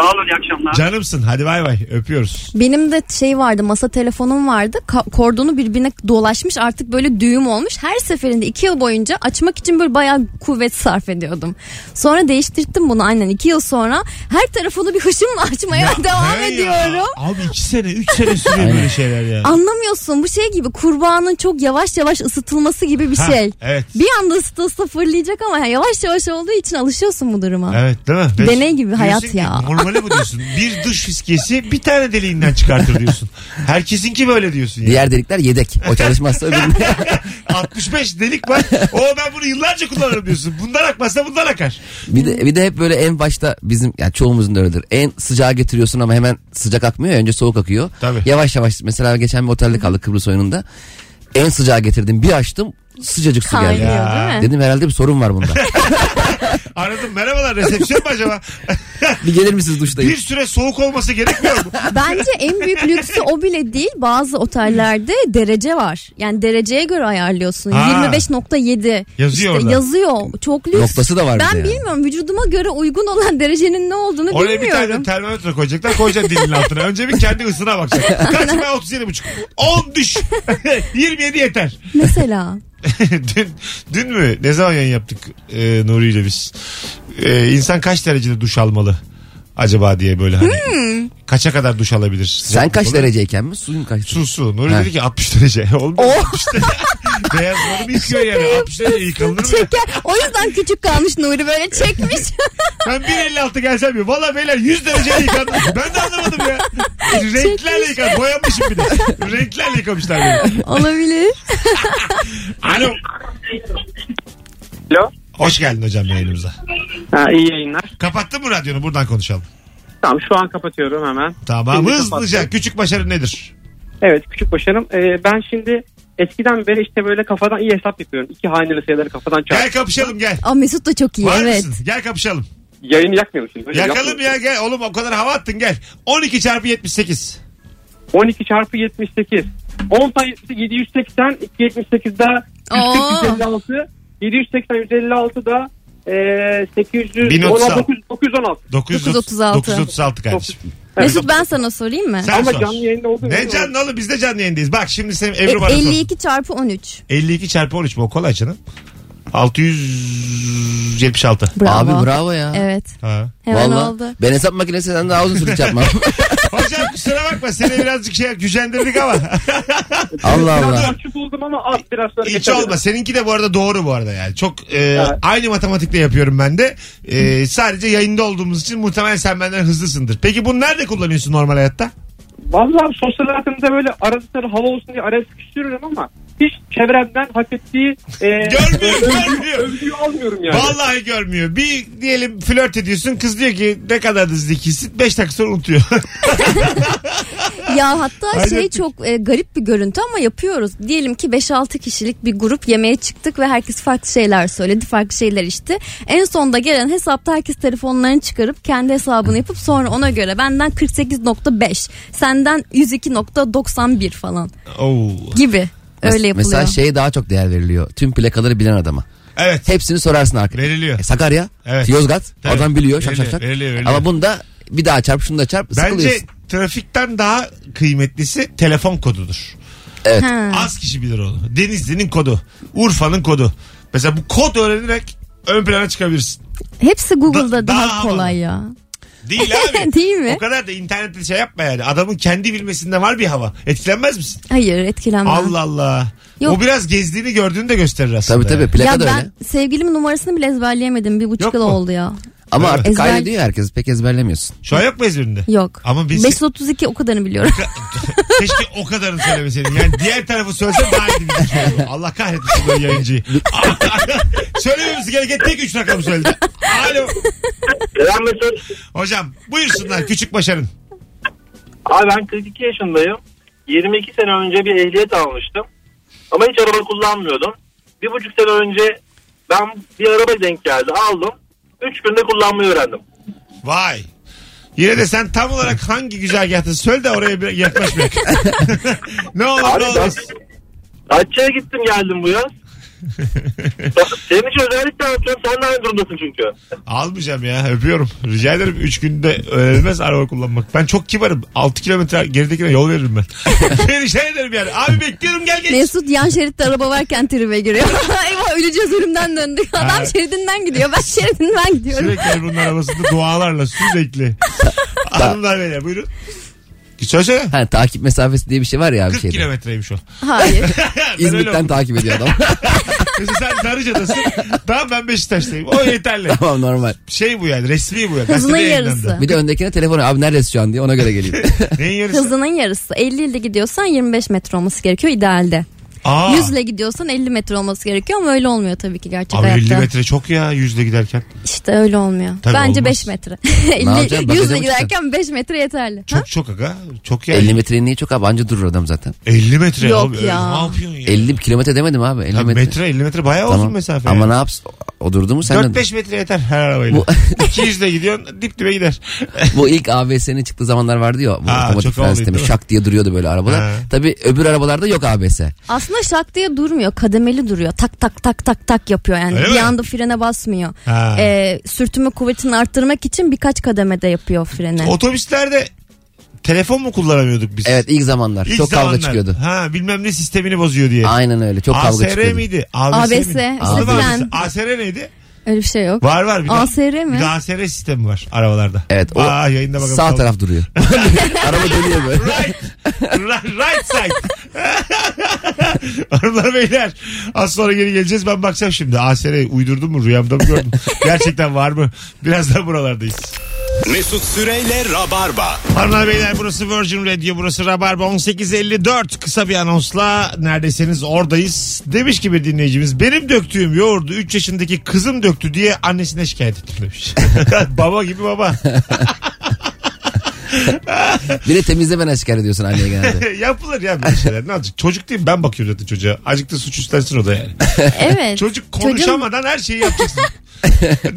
S8: Sağ olun iyi akşamlar.
S2: Canımsın hadi bay bay öpüyoruz.
S4: Benim de şey vardı masa telefonum vardı Ka- kordonu birbirine dolaşmış artık böyle düğüm olmuş. Her seferinde iki yıl boyunca açmak için böyle bayağı kuvvet sarf ediyordum. Sonra değiştirttim bunu aynen iki yıl sonra her tarafını bir hışımla açmaya devam
S2: He ya.
S4: ediyorum.
S2: Abi iki sene üç sene sürüyor böyle şeyler ya.
S4: Anlamıyorsun bu şey gibi kurbanın çok yavaş yavaş ısıtılması gibi bir
S2: Ha,
S4: şey.
S2: evet.
S4: Bir anda ısıta ısıta fırlayacak ama yani yavaş yavaş olduğu için alışıyorsun bu duruma.
S2: Evet değil mi? Ve
S4: Deney gibi hayat
S2: diyorsun ki,
S4: ya.
S2: Normali bu diyorsun. Bir duş fiskesi bir tane deliğinden çıkartır diyorsun. Herkesinki böyle diyorsun ya.
S3: Diğer delikler yedek. O çalışmazsa öbüründe.
S2: 65 delik var. O ben bunu yıllarca kullanırım diyorsun. Bundan akmazsa bundan akar.
S3: Bir de, bir de hep böyle en başta bizim yani çoğumuzun da öyledir. En sıcağı getiriyorsun ama hemen sıcak akmıyor ya, önce soğuk akıyor.
S2: Tabii.
S3: Yavaş yavaş mesela geçen bir otelde kaldık Kıbrıs oyununda. En sıcağı getirdim bir açtım sıcacık su
S4: Kaynıyor
S3: geldi.
S2: Ya.
S4: değil mi?
S3: Dedim herhalde bir sorun var bunda.
S2: Aradım merhabalar resepsiyon mu acaba?
S3: bir gelir misiniz duştayım?
S2: bir süre soğuk olması gerekmiyor mu?
S4: Bence en büyük lüksü o bile değil. Bazı otellerde derece var. Yani dereceye göre ayarlıyorsun.
S2: Ha.
S4: 25.7.
S2: Yazıyor
S4: İşte
S2: orada.
S4: yazıyor. Çok lüks.
S3: Noktası da var bir
S4: Ben
S3: de yani.
S4: bilmiyorum vücuduma göre uygun olan derecenin ne olduğunu
S2: Oraya bir tane
S4: bilmiyorum.
S2: termometre koyacaklar. Koyacaksın dilinin altına. Önce bir kendi ısına bakacak. Kaç ben 37,5. 10 düş. 27 yeter.
S4: Mesela.
S2: dün, dün mü? Ne zaman yayın yaptık e, Nuri ile biz? E, insan kaç derecede duş almalı acaba diye böyle hani. Kaça kadar duş alabilir?
S3: Sen
S2: Sıcaklık
S3: kaç
S2: olarak?
S3: dereceyken mi suyun kaç derece?
S2: Su su. Nuri
S3: Ha.
S2: dedi ki 60 derece. Olmuyor
S4: Oh,
S2: 60 derece. Beyazları mı yıkıyor yani? 60 derece yıkanılır mı? ya?
S4: Çeker. O yüzden küçük kalmış Nuri böyle çekmiş.
S2: Ben 1.56 gelsem ya. Valla beyler 100 derece yıkandım. Ben de anlamadım ya. Renklerle yıkandım. Boyanmışım bir de. Renklerle yıkamışlar beni.
S4: Olabilir.
S2: Alo.
S7: Alo.
S2: Hoş geldin hocam yayınımıza.
S7: Ha, iyi yayınlar.
S2: Kapattın mı radyonu? Buradan konuşalım.
S7: Tamam şu an kapatıyorum hemen.
S2: Tamam.
S7: Şimdi
S2: Hızlıca
S7: kapattım.
S2: küçük başarı nedir?
S7: Evet küçük başarım. Ee, ben şimdi eskiden beri işte böyle kafadan iyi hesap yapıyorum. İki haneli sayıları kafadan çarp.
S2: Gel kapışalım gel.
S4: Aa, Mesut da çok iyi
S2: Var
S4: evet.
S2: mısın? Gel kapışalım.
S7: Yayını yakmayalım şimdi. Öyle
S2: Yakalım
S7: yapmayalım.
S2: ya gel. Oğlum o kadar hava attın gel. 12 çarpı 78.
S7: 12 çarpı 78. 10 sayısı 780, 278 daha
S4: Oo.
S7: 156, 780, 156 da e, 800,
S2: 1036.
S7: 916.
S4: 936.
S2: 936 kardeşim.
S4: Mesut ben sana sorayım mı?
S2: Sen
S7: Ama
S2: sor.
S7: canlı yayında oldu.
S2: Ne canlı oğlum biz de canlı yayındayız. Bak şimdi senin
S4: E,
S2: Ebru bana sordu.
S4: 52 çarpı 13.
S2: 52 çarpı 13 mi o kolay canım? 676.
S4: Bravo.
S3: Abi bravo ya.
S4: Evet.
S2: Ha.
S4: Hemen
S3: Vallahi.
S4: oldu.
S3: Ben hesap makinesinden daha uzun süre çarpmam.
S2: Hocam kusura bakma seni birazcık şey gücendirdik ama.
S3: Allah Allah.
S7: Açık buldum ama az biraz sonra
S2: Hiç
S7: geçelim.
S2: olma. Seninki de bu arada doğru bu arada yani. Çok e, aynı matematikle yapıyorum ben de. E, sadece yayında olduğumuz için muhtemelen sen benden hızlısındır. Peki bunu nerede kullanıyorsun normal hayatta?
S7: Vallahi sosyal hayatımda böyle arada sırada hava olsun diye araya sıkıştırıyorum ama hiç çevremden hak ettiği e,
S2: Görmüyor, görmüyor.
S7: övgüyü almıyorum yani.
S2: Vallahi görmüyor. Bir diyelim flört ediyorsun. Kız diyor ki ne kadar da zekisin. 5 dakika sonra unutuyor.
S4: Ya hatta
S2: Hayret
S4: şey
S2: bir-
S4: çok e, garip bir görüntü ama yapıyoruz. Diyelim ki 5-6 kişilik bir grup yemeğe çıktık ve herkes farklı şeyler söyledi, farklı şeyler içti. En sonda gelen hesapta herkes telefonlarını çıkarıp kendi hesabını yapıp sonra ona göre benden 48.5, senden 102.91 falan
S2: Oo.
S4: gibi öyle yapılıyor.
S3: Mesela şeye daha çok değer veriliyor. Tüm plakaları bilen adama.
S2: Evet.
S3: Hepsini sorarsın arkadaşlar.
S2: Veriliyor.
S3: E, Sakarya,
S2: Evet.
S3: Yozgat.
S2: Tabii.
S3: Adam biliyor şak şak
S2: Veriliyor,
S3: şak.
S2: veriliyor, veriliyor.
S3: Ama bunda bir daha çarp şunu da çarp
S2: Bence
S3: sıkılıyorsun.
S2: trafikten daha kıymetlisi telefon kodudur.
S3: Evet.
S4: Ha.
S2: Az kişi bilir onu. Denizli'nin kodu. Urfa'nın kodu. Mesela bu kod öğrenerek ön plana çıkabilirsin.
S4: Hepsi Google'da
S2: Da-
S4: daha,
S2: daha
S4: kolay ya.
S2: Değil abi.
S4: Değil mi?
S2: O kadar da internette şey yapma yani. Adamın kendi bilmesinde var bir hava. Etkilenmez misin?
S4: Hayır etkilenmem.
S2: Allah Allah.
S4: Yok.
S2: O biraz gezdiğini gördüğünü de gösterir aslında.
S3: Tabii tabii
S2: yani.
S3: plaka
S4: ya
S3: da
S4: ben
S3: öyle.
S4: sevgilimin numarasını bile ezberleyemedim. Bir buçuk
S2: Yok
S4: yıl
S2: mu?
S4: oldu ya.
S3: Ama
S2: Değil mi?
S3: artık
S4: Ezber-
S3: kaydediyor ya herkes pek ezberlemiyorsun.
S2: Şu an yok mu ezberinde?
S4: Yok.
S2: Ama biz-
S4: 532 o kadarını biliyorum.
S2: Keşke o kadarını söylemeseydin. Yani diğer tarafı söylesen daha iyi bir şey olur. Allah kahretmesin böyle yayıncıyı. Söylememiz gereken tek üç rakamı söyledi. Alo.
S9: Selam Mesut.
S2: Hocam buyursunlar küçük başarın.
S9: Abi ben 42 yaşındayım. 22 sene önce bir ehliyet almıştım. Ama hiç araba kullanmıyordum. Bir buçuk sene önce ben bir araba denk geldi aldım. Üç günde kullanmayı öğrendim.
S2: Vay. Yine de sen tam olarak hangi güzergahtasın söyle de oraya bir yaklaşmayak. ne olur
S9: Abi
S2: ne
S9: ben
S2: olmaz.
S9: Datça'ya gittim geldim bu yaz.
S8: Senin için özellikle anlatıyorum. Sen de aynı durumdasın çünkü.
S2: Almayacağım ya öpüyorum. Rica ederim 3 günde öğrenilmez araba kullanmak. Ben çok kibarım. 6 kilometre geridekine yol veririm ben. Rica ederim yani. Abi bekliyorum gel geç.
S4: Mesut yan şeritte araba varken tribe giriyor. Eyvah öleceğiz ölümden döndük. Adam şeridinden gidiyor. Ben şeridinden gidiyorum.
S2: Sürekli bunun arabasında dualarla sürekli. Hanımlar beyler buyurun. Söylesene.
S3: Ha, Hani takip mesafesi diye bir şey var ya bir
S2: 40
S3: şeyde.
S2: kilometreymiş o.
S4: Hayır.
S2: Ben öyle
S3: İzmit'ten
S2: oldum.
S3: takip ediyor adam.
S2: Mesela sen Darıca'dasın. tamam ben Beşiktaş'tayım. O yeterli.
S3: tamam normal.
S2: Şey bu yani resmi bu yani.
S4: Hızının
S2: Gazetede
S4: yarısı.
S2: yayınlandı.
S3: Bir de öndekine telefonu abi neredesin şu an diye ona göre geliyor.
S2: Neyin yarısı?
S4: Hızının yarısı. 50 ile gidiyorsan 25 metre olması gerekiyor idealde.
S2: Aa,
S4: 100 ile gidiyorsan 50 metre olması gerekiyor ama öyle olmuyor tabii ki gerçek
S2: Abi 50
S4: hayatta.
S2: metre çok ya yüzle giderken.
S4: İşte öyle olmuyor.
S2: Tabii
S4: Bence
S2: olmaz.
S4: 5 metre.
S3: yapacaksın?
S4: 50,
S3: Bagaja
S4: 100 ile
S3: mı
S4: giderken 5 metre yeterli. Ha?
S2: Çok çok aga. Çok ya. 50,
S3: 50 metreyi niye çok abi anca durur adam zaten.
S2: metre.
S4: Yok
S2: abi, öyle
S4: ya.
S2: Ne yapıyorsun ya?
S3: 50 kilometre demedim abi. 50
S2: Ya
S3: metre.
S2: metre. 50 metre bayağı uzun
S3: Tamam.
S2: mesafe.
S3: Ama
S2: yani.
S3: ne yapsın? O durdu mu sen de...
S2: 4-5 metre yeter her arabayla.
S3: Bu-
S2: 200 ile gidiyorsun dip dibe gider.
S3: Bu ilk ABS'nin çıktığı zamanlar vardı ya. Bu
S2: Ha,
S3: otomatik
S2: çok
S3: fren
S2: havalıydı,
S3: sistemi
S2: değil mi?
S3: şak diye duruyordu böyle
S2: Ha.
S3: arabalar. Tabii öbür arabalarda yok ABS.
S4: Aslında şak diye durmuyor. Kademeli duruyor. Tak tak tak tak tak yapıyor yani.
S2: Öyle
S4: bir
S2: mi?
S4: anda frene basmıyor.
S2: Ha.
S4: Ee, sürtünme kuvvetini arttırmak için birkaç kademede yapıyor freni.
S2: Otobüslerde telefon mu kullanamıyorduk biz?
S3: Evet ilk zamanlar.
S2: İlk
S3: çok
S2: zamanlar.
S3: kavga çıkıyordu.
S2: Ha bilmem ne sistemini bozuyor diye.
S3: Aynen öyle. Çok kavga
S2: ASR
S3: çıkıyordu.
S2: miydi? ABS,
S4: ABS,
S2: miydi?
S4: işte
S2: Adı mı
S4: fren.
S2: ABS? ASR neydi?
S4: Öyle bir şey yok.
S2: Var var bir de.
S4: ASR mi?
S2: Bir de ASR sistemi var arabalarda.
S3: Evet. O
S2: Aa, yayında bakalım.
S3: sağ taraf duruyor. Araba dönüyor böyle.
S2: Right. Right- right side. Hanımlar beyler az sonra geri geleceğiz. Ben bakacağım şimdi. ASR uydurdum mu rüyamda mı gördüm? Gerçekten var mı? Birazdan buralardayız.
S1: Mesut Süreyle Rabarba.
S2: Hanımlar beyler burası Virgin Radio burası Rabarba 1854 kısa bir anonsla neredesiniz oradayız. Demiş ki bir dinleyicimiz benim döktüğüm yoğurdu 3 yaşındaki kızım döktü diye annesine şikayet ettim demiş. baba gibi baba.
S3: Bir de temizlemene şikayet ediyorsun anneye genelde.
S2: Yapılır ya böyle şeyler ne olacak. Çocuk değil mi? ben bakıyorum zaten çocuğa. Azıcık da suç üstlensin o da yani.
S4: Evet.
S2: Çocuk
S4: Çocuğun-
S2: konuşamadan her şeyi yapacaksın.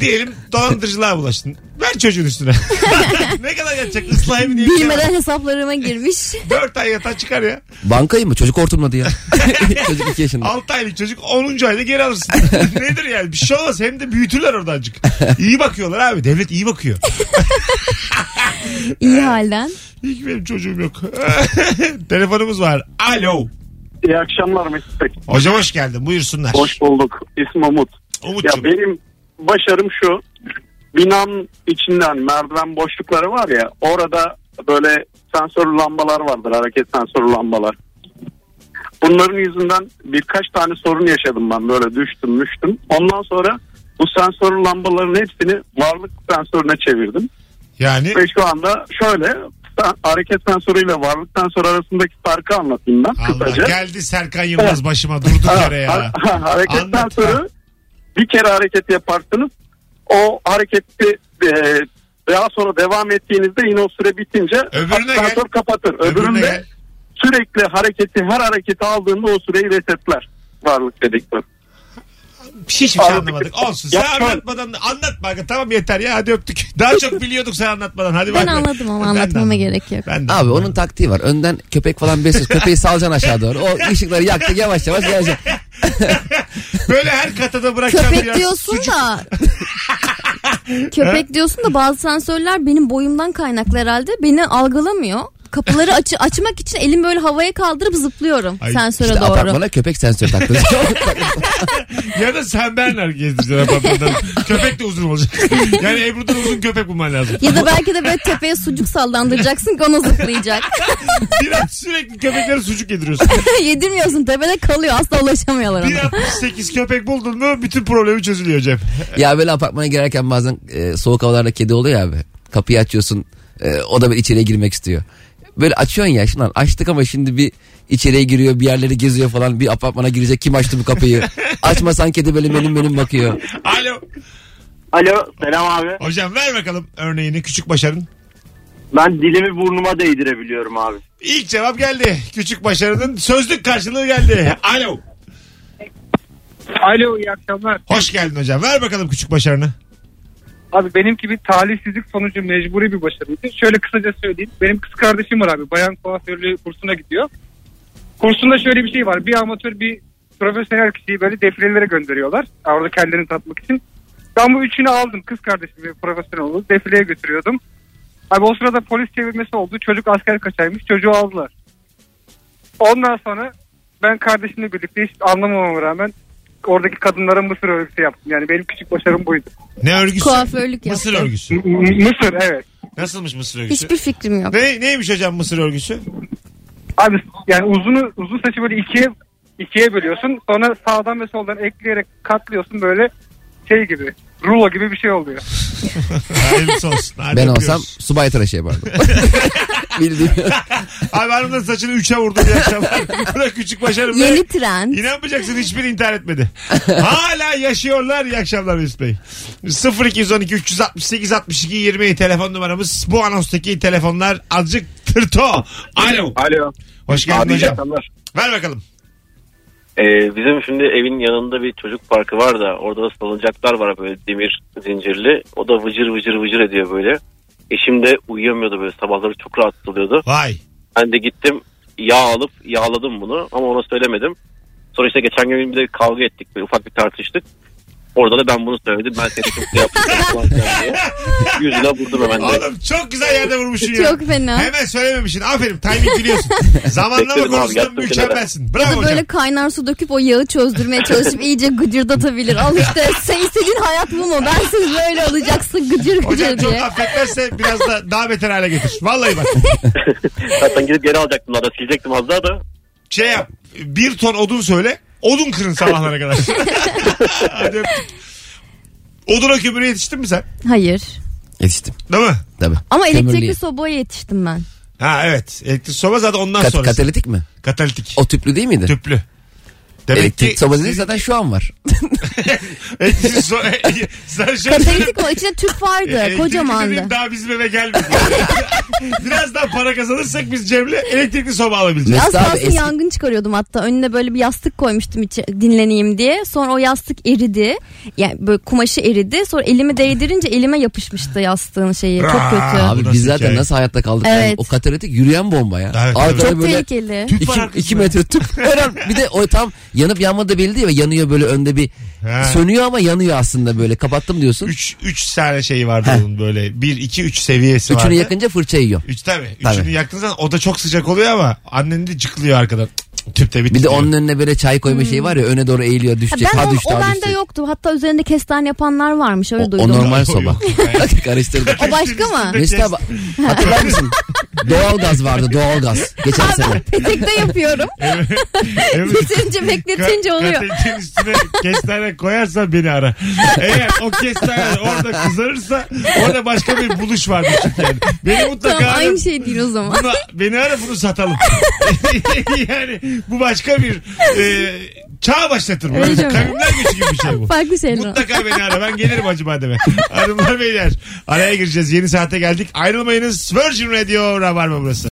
S2: Diyelim dolandırıcılığa bulaştın. Ver çocuğun üstüne. ne kadar yatacak ıslah evi diye.
S4: Bilmeden hesaplarıma girmiş.
S2: 4 ay yatağa çıkar ya.
S3: Bankayı mı? Çocuk hortumladı ya. Çocuk 2 yaşında.
S2: 6 aylık çocuk 10. ayda geri alırsın. Nedir yani bir şey olmaz hem de büyütürler oradan İyi bakıyorlar abi devlet iyi bakıyor.
S4: İyi halden.
S2: İyi ki benim çocuğum yok. Telefonumuz var. Alo.
S8: İyi akşamlar Mesut Bey.
S2: Hocam hoş geldin buyursunlar.
S8: Hoş bulduk. İsmim Umut. Ya
S2: Umut'cum.
S8: benim başarım şu. Binanın içinden merdiven boşlukları var ya. Orada böyle sensörlü lambalar vardır. Hareket sensörlü lambalar. Bunların yüzünden birkaç tane sorun yaşadım ben. Böyle düştüm düştüm. Ondan sonra bu sensörlü lambaların hepsini varlık sensörüne çevirdim.
S2: Yani
S8: Ve şu anda şöyle sen- hareket sensörüyle varlık sensörü arasındaki farkı anlatayım ben
S2: Allah
S8: kısaca.
S2: geldi Serkan Yılmaz başıma durduk
S8: Ha,
S2: yere ya.
S8: ha- ha- hareketten
S2: Anlat,
S8: sonra
S2: ha.
S8: bir kere hareket yaparsınız. O hareketi e, daha sonra devam ettiğinizde yine o süre bitince
S2: Öbürüne gel.
S8: asansör kapatır.
S2: Öbürüne
S8: Öbüründe
S2: gel.
S8: sürekli hareketi her hareketi aldığında o süreyi resetler varlık dedektörü.
S2: Hiçbir şey anlamadık. Olsun. Sen
S8: Ya şu an-
S2: anlatmadan anlatma. Tamam yeter ya hadi öptük. Daha çok biliyorduk sen anlatmadan. Hadi
S4: Ben
S2: bay bay.
S4: anladım ama
S2: Ben de
S4: anlatmama
S2: anladım.
S4: gerek yok.
S2: Ben de
S3: Abi
S2: anladım.
S3: onun taktiği var. Önden köpek falan besliyorsun. Köpeği salacaksın aşağı doğru. O ışıkları yaktı yavaş yavaş gelecek.
S2: Böyle her katada bırakacağım
S4: Köpek
S2: biraz
S4: diyorsun
S2: sucuk.
S4: da Köpek diyorsun da bazı sensörler benim boyumdan kaynaklı herhalde. Beni algılamıyor. Kapıları açı- açmak için elim böyle havaya kaldırıp zıplıyorum
S2: Ay,
S4: sensöre
S3: İşte
S4: doğru.
S3: apartmana köpek sensörü taktı.
S2: Ya da sen benler gezdireceksin apartmandan. köpek de uzun olacak. Yani Ebru'dan uzun köpek bulman lazım.
S4: Ya da belki de böyle tepeye sucuk sallandıracaksın ki ona zıplayacak.
S2: Biraz sürekli köpeklere sucuk yediriyorsun.
S4: Yedirmiyorsun tepede kalıyor asla ulaşamıyorlar ona.
S2: 1.68 köpek buldun mu bütün problemi çözülüyor Cem.
S3: ya böyle apartmana girerken bazen e, soğuk havalarda kedi oluyor ya abi. Kapıyı açıyorsun. e, o da böyle içeriye girmek istiyor. Böyle açıyorsun ya. Şimdi lan açtık ama şimdi bir içeriye giriyor bir yerleri geziyor falan. Bir apartmana girecek kim açtı bu kapıyı? Açmasan kedi böyle benim benim bakıyor.
S2: Alo.
S8: Alo selam abi.
S2: Hocam ver bakalım örneğini küçük başarın.
S8: Ben dilimi burnuma değdirebiliyorum abi.
S2: İlk cevap geldi. Küçük başarının sözlük karşılığı geldi. Alo.
S10: Alo iyi akşamlar.
S2: Hoş geldin hocam. Ver bakalım küçük başarını.
S10: Abi benimki bir talihsizlik sonucu mecburi bir başarıydı. Şöyle kısaca söyleyeyim. Benim kız kardeşim var abi. Bayan kuaförlüğü kursuna gidiyor. Kursunda şöyle bir şey var. Bir amatör bir
S7: profesyonel kişiyi böyle defilelere gönderiyorlar. Orada kendini tatmak için. Ben bu üçünü aldım. Kız kardeşim bir profesyonel oldu. Defileye götürüyordum. Abi o sırada polis çevirmesi oldu. Çocuk asker kaçaymış. Çocuğu aldılar. Ondan sonra ben kardeşimle birlikte hiç anlamamama rağmen oradaki kadınlara mısır örgüsü yaptım. Yani benim küçük başarım buydu.
S2: Ne örgüsü?
S4: Kuaförlük
S2: Mısır
S4: yaptım.
S2: örgüsü.
S7: M- mısır evet.
S2: Nasılmış mısır örgüsü?
S4: Hiçbir fikrim yok.
S2: Ne, neymiş hocam mısır örgüsü?
S7: Abi yani uzunu uzun saçı böyle ikiye ikiye bölüyorsun. Sonra sağdan ve soldan ekleyerek katlıyorsun böyle şey gibi. Rulo gibi bir şey oluyor.
S2: Hayırlısı olsun. Hadi
S3: Ben
S2: öpüyoruz.
S3: olsam subay tıraşı yapardım. Bildiğim.
S2: Abi hanımın saçını üçe vurdu bir akşam. Bu kadar küçük başarım. be.
S4: Yeni trend.
S2: İnanmayacaksın hiçbir intihar etmedi. Hala yaşıyorlar. İyi akşamlar Mesut Bey. 0212 368 62 20 telefon numaramız. Bu anonstaki telefonlar azıcık tırto. Alo.
S8: Alo.
S2: Hoş geldin hocam. Ver bakalım.
S8: Ee, bizim şimdi evin yanında bir çocuk parkı var da orada da salıncaklar var böyle demir zincirli. O da vıcır vıcır vıcır ediyor böyle. Eşim de uyuyamıyordu böyle sabahları çok rahatsız oluyordu.
S2: Vay.
S8: Ben de gittim yağ alıp yağladım bunu ama ona söylemedim. Sonra işte geçen gün bir de kavga ettik böyle ufak bir tartıştık. Orada da ben bunu söyledim. Ben seni çok şey yaptım falan filan diye. Yüzüne vurdum hemen de.
S2: Oğlum çok güzel yerde vurmuşsun ya.
S4: Çok fena.
S2: Hemen söylememişsin. Aferin. Timing biliyorsun. Zamanlama
S8: Bekledim abi,
S2: konusunda
S8: yattım
S2: mükemmelsin.
S4: Ya
S2: Bravo
S4: da
S2: hocam.
S4: böyle kaynar su döküp o yağı çözdürmeye çalışıp iyice gıcırdatabilir. Al işte Seysel'in hayat bu mu? Ben siz böyle olacaksın gıcır
S2: Hocam
S4: gıcır
S2: çok
S4: diye.
S2: affetmezse biraz da daha beter hale getir. Vallahi bak.
S8: Zaten gidip geri alacaktım daha da silecektim az daha da.
S2: Şey yap. Bir ton odun söyle. Odun kırın sabahlara kadar. Hadi öptük. Oduna kömüre yetiştin mi sen?
S4: Hayır.
S3: Yetiştim
S2: Değil mi?
S3: tabii.
S4: Ama
S3: Kömürlüğe.
S4: elektrikli sobaya yetiştim ben.
S2: Ha evet. Elektrik soba zaten ondan
S3: Kat-
S2: sonra.
S3: katalitik mi?
S2: Katalitik.
S3: O tüplü değil miydi?
S2: Tüplü. Demek
S3: Elektrik
S2: ki
S3: sobası değil, zaten şu an var.
S2: elektrik so- sen şöyle
S4: Katalitik o içinde tüp vardı.
S2: E, Elektrikli
S4: Kocamandı.
S2: dediğim Ee, daha bizim eve gelmedi. Biraz daha para kazanırsak biz Cem'le elektrikli soba alabileceğiz.
S3: Mesut
S4: Yastığa
S3: abi eski-
S4: yangın çıkarıyordum hatta. Önüne böyle bir yastık koymuştum içi, dinleneyim diye. Sonra o yastık eridi. Yani böyle kumaşı eridi. Sonra elimi değdirince elime yapışmıştı yastığın şeyi. Çok
S2: Aa,
S4: kötü.
S2: bu
S3: Abi
S2: nasıl
S3: biz zaten
S2: hikaye?
S3: nasıl hayatta kaldık?
S4: Evet.
S3: Yani o katalitik yürüyen bomba ya.
S2: Evet,
S3: Arkada
S4: Çok
S3: böyle
S4: tehlikeli.
S2: Tüp var
S3: 2
S2: arkasında.
S3: metre tüp. Her an- bir de o tam yanıp yanmadığı da belli değil ve yanıyor böyle önde bir
S2: He.
S3: sönüyor ama yanıyor aslında böyle kapattım diyorsun.
S2: 3 3 tane şeyi vardı onun böyle. 1 2 3 seviyesi
S3: Üçünü
S2: vardı.
S3: yakınca fırça yiyor.
S2: Üç tabii.
S3: Tabii.
S2: Üçünü yaktığın zaman o da çok sıcak oluyor ama annen de cıklıyor arkadan. Cık, cık, Tüpte bir
S3: Bir de
S2: titriyor.
S3: onun önüne böyle çay koyma şeyi var ya öne doğru eğiliyor
S4: Hmm. Ha,
S3: düşecek.
S4: ben
S3: ha
S4: o,
S3: düştü
S4: o
S3: ha
S4: bende
S3: düştü.
S4: yoktu. Hatta üzerinde kestan yapanlar varmış. Öyle
S3: O- o
S4: duydum.
S3: normal
S2: Yok,
S3: soba.
S2: yok. Yani
S3: Karıştırdık.
S4: O başka mı?
S3: Mesut abi hatırlar mısın? doğalgaz vardı doğalgaz. Geçen sene.
S4: Petekte yapıyorum.
S2: Evet.
S4: Kesince bekletince
S2: Ka-
S4: oluyor.
S2: Katekin üstüne kestane koyarsan beni ara. Eğer o kestane orada kızarırsa orada başka bir buluş vardır çünkü yani. Beni mutlaka
S4: Tamam
S2: ara.
S4: aynı şey değil o zaman.
S2: Buna, beni ara bunu satalım. yani bu başka bir e, çağ başlatır. bu.
S4: Öyle mi?
S2: Kavimler göçü gibi bir şey bu.
S4: Farklı şeyler. o.
S2: Mutlaka beni ara. Ben gelirim Hacı Badem'e. Hanımlar beyler araya gireceğiz. Yeni saate geldik. Ayrılmayınız. Virgin Radio Rabarba burası.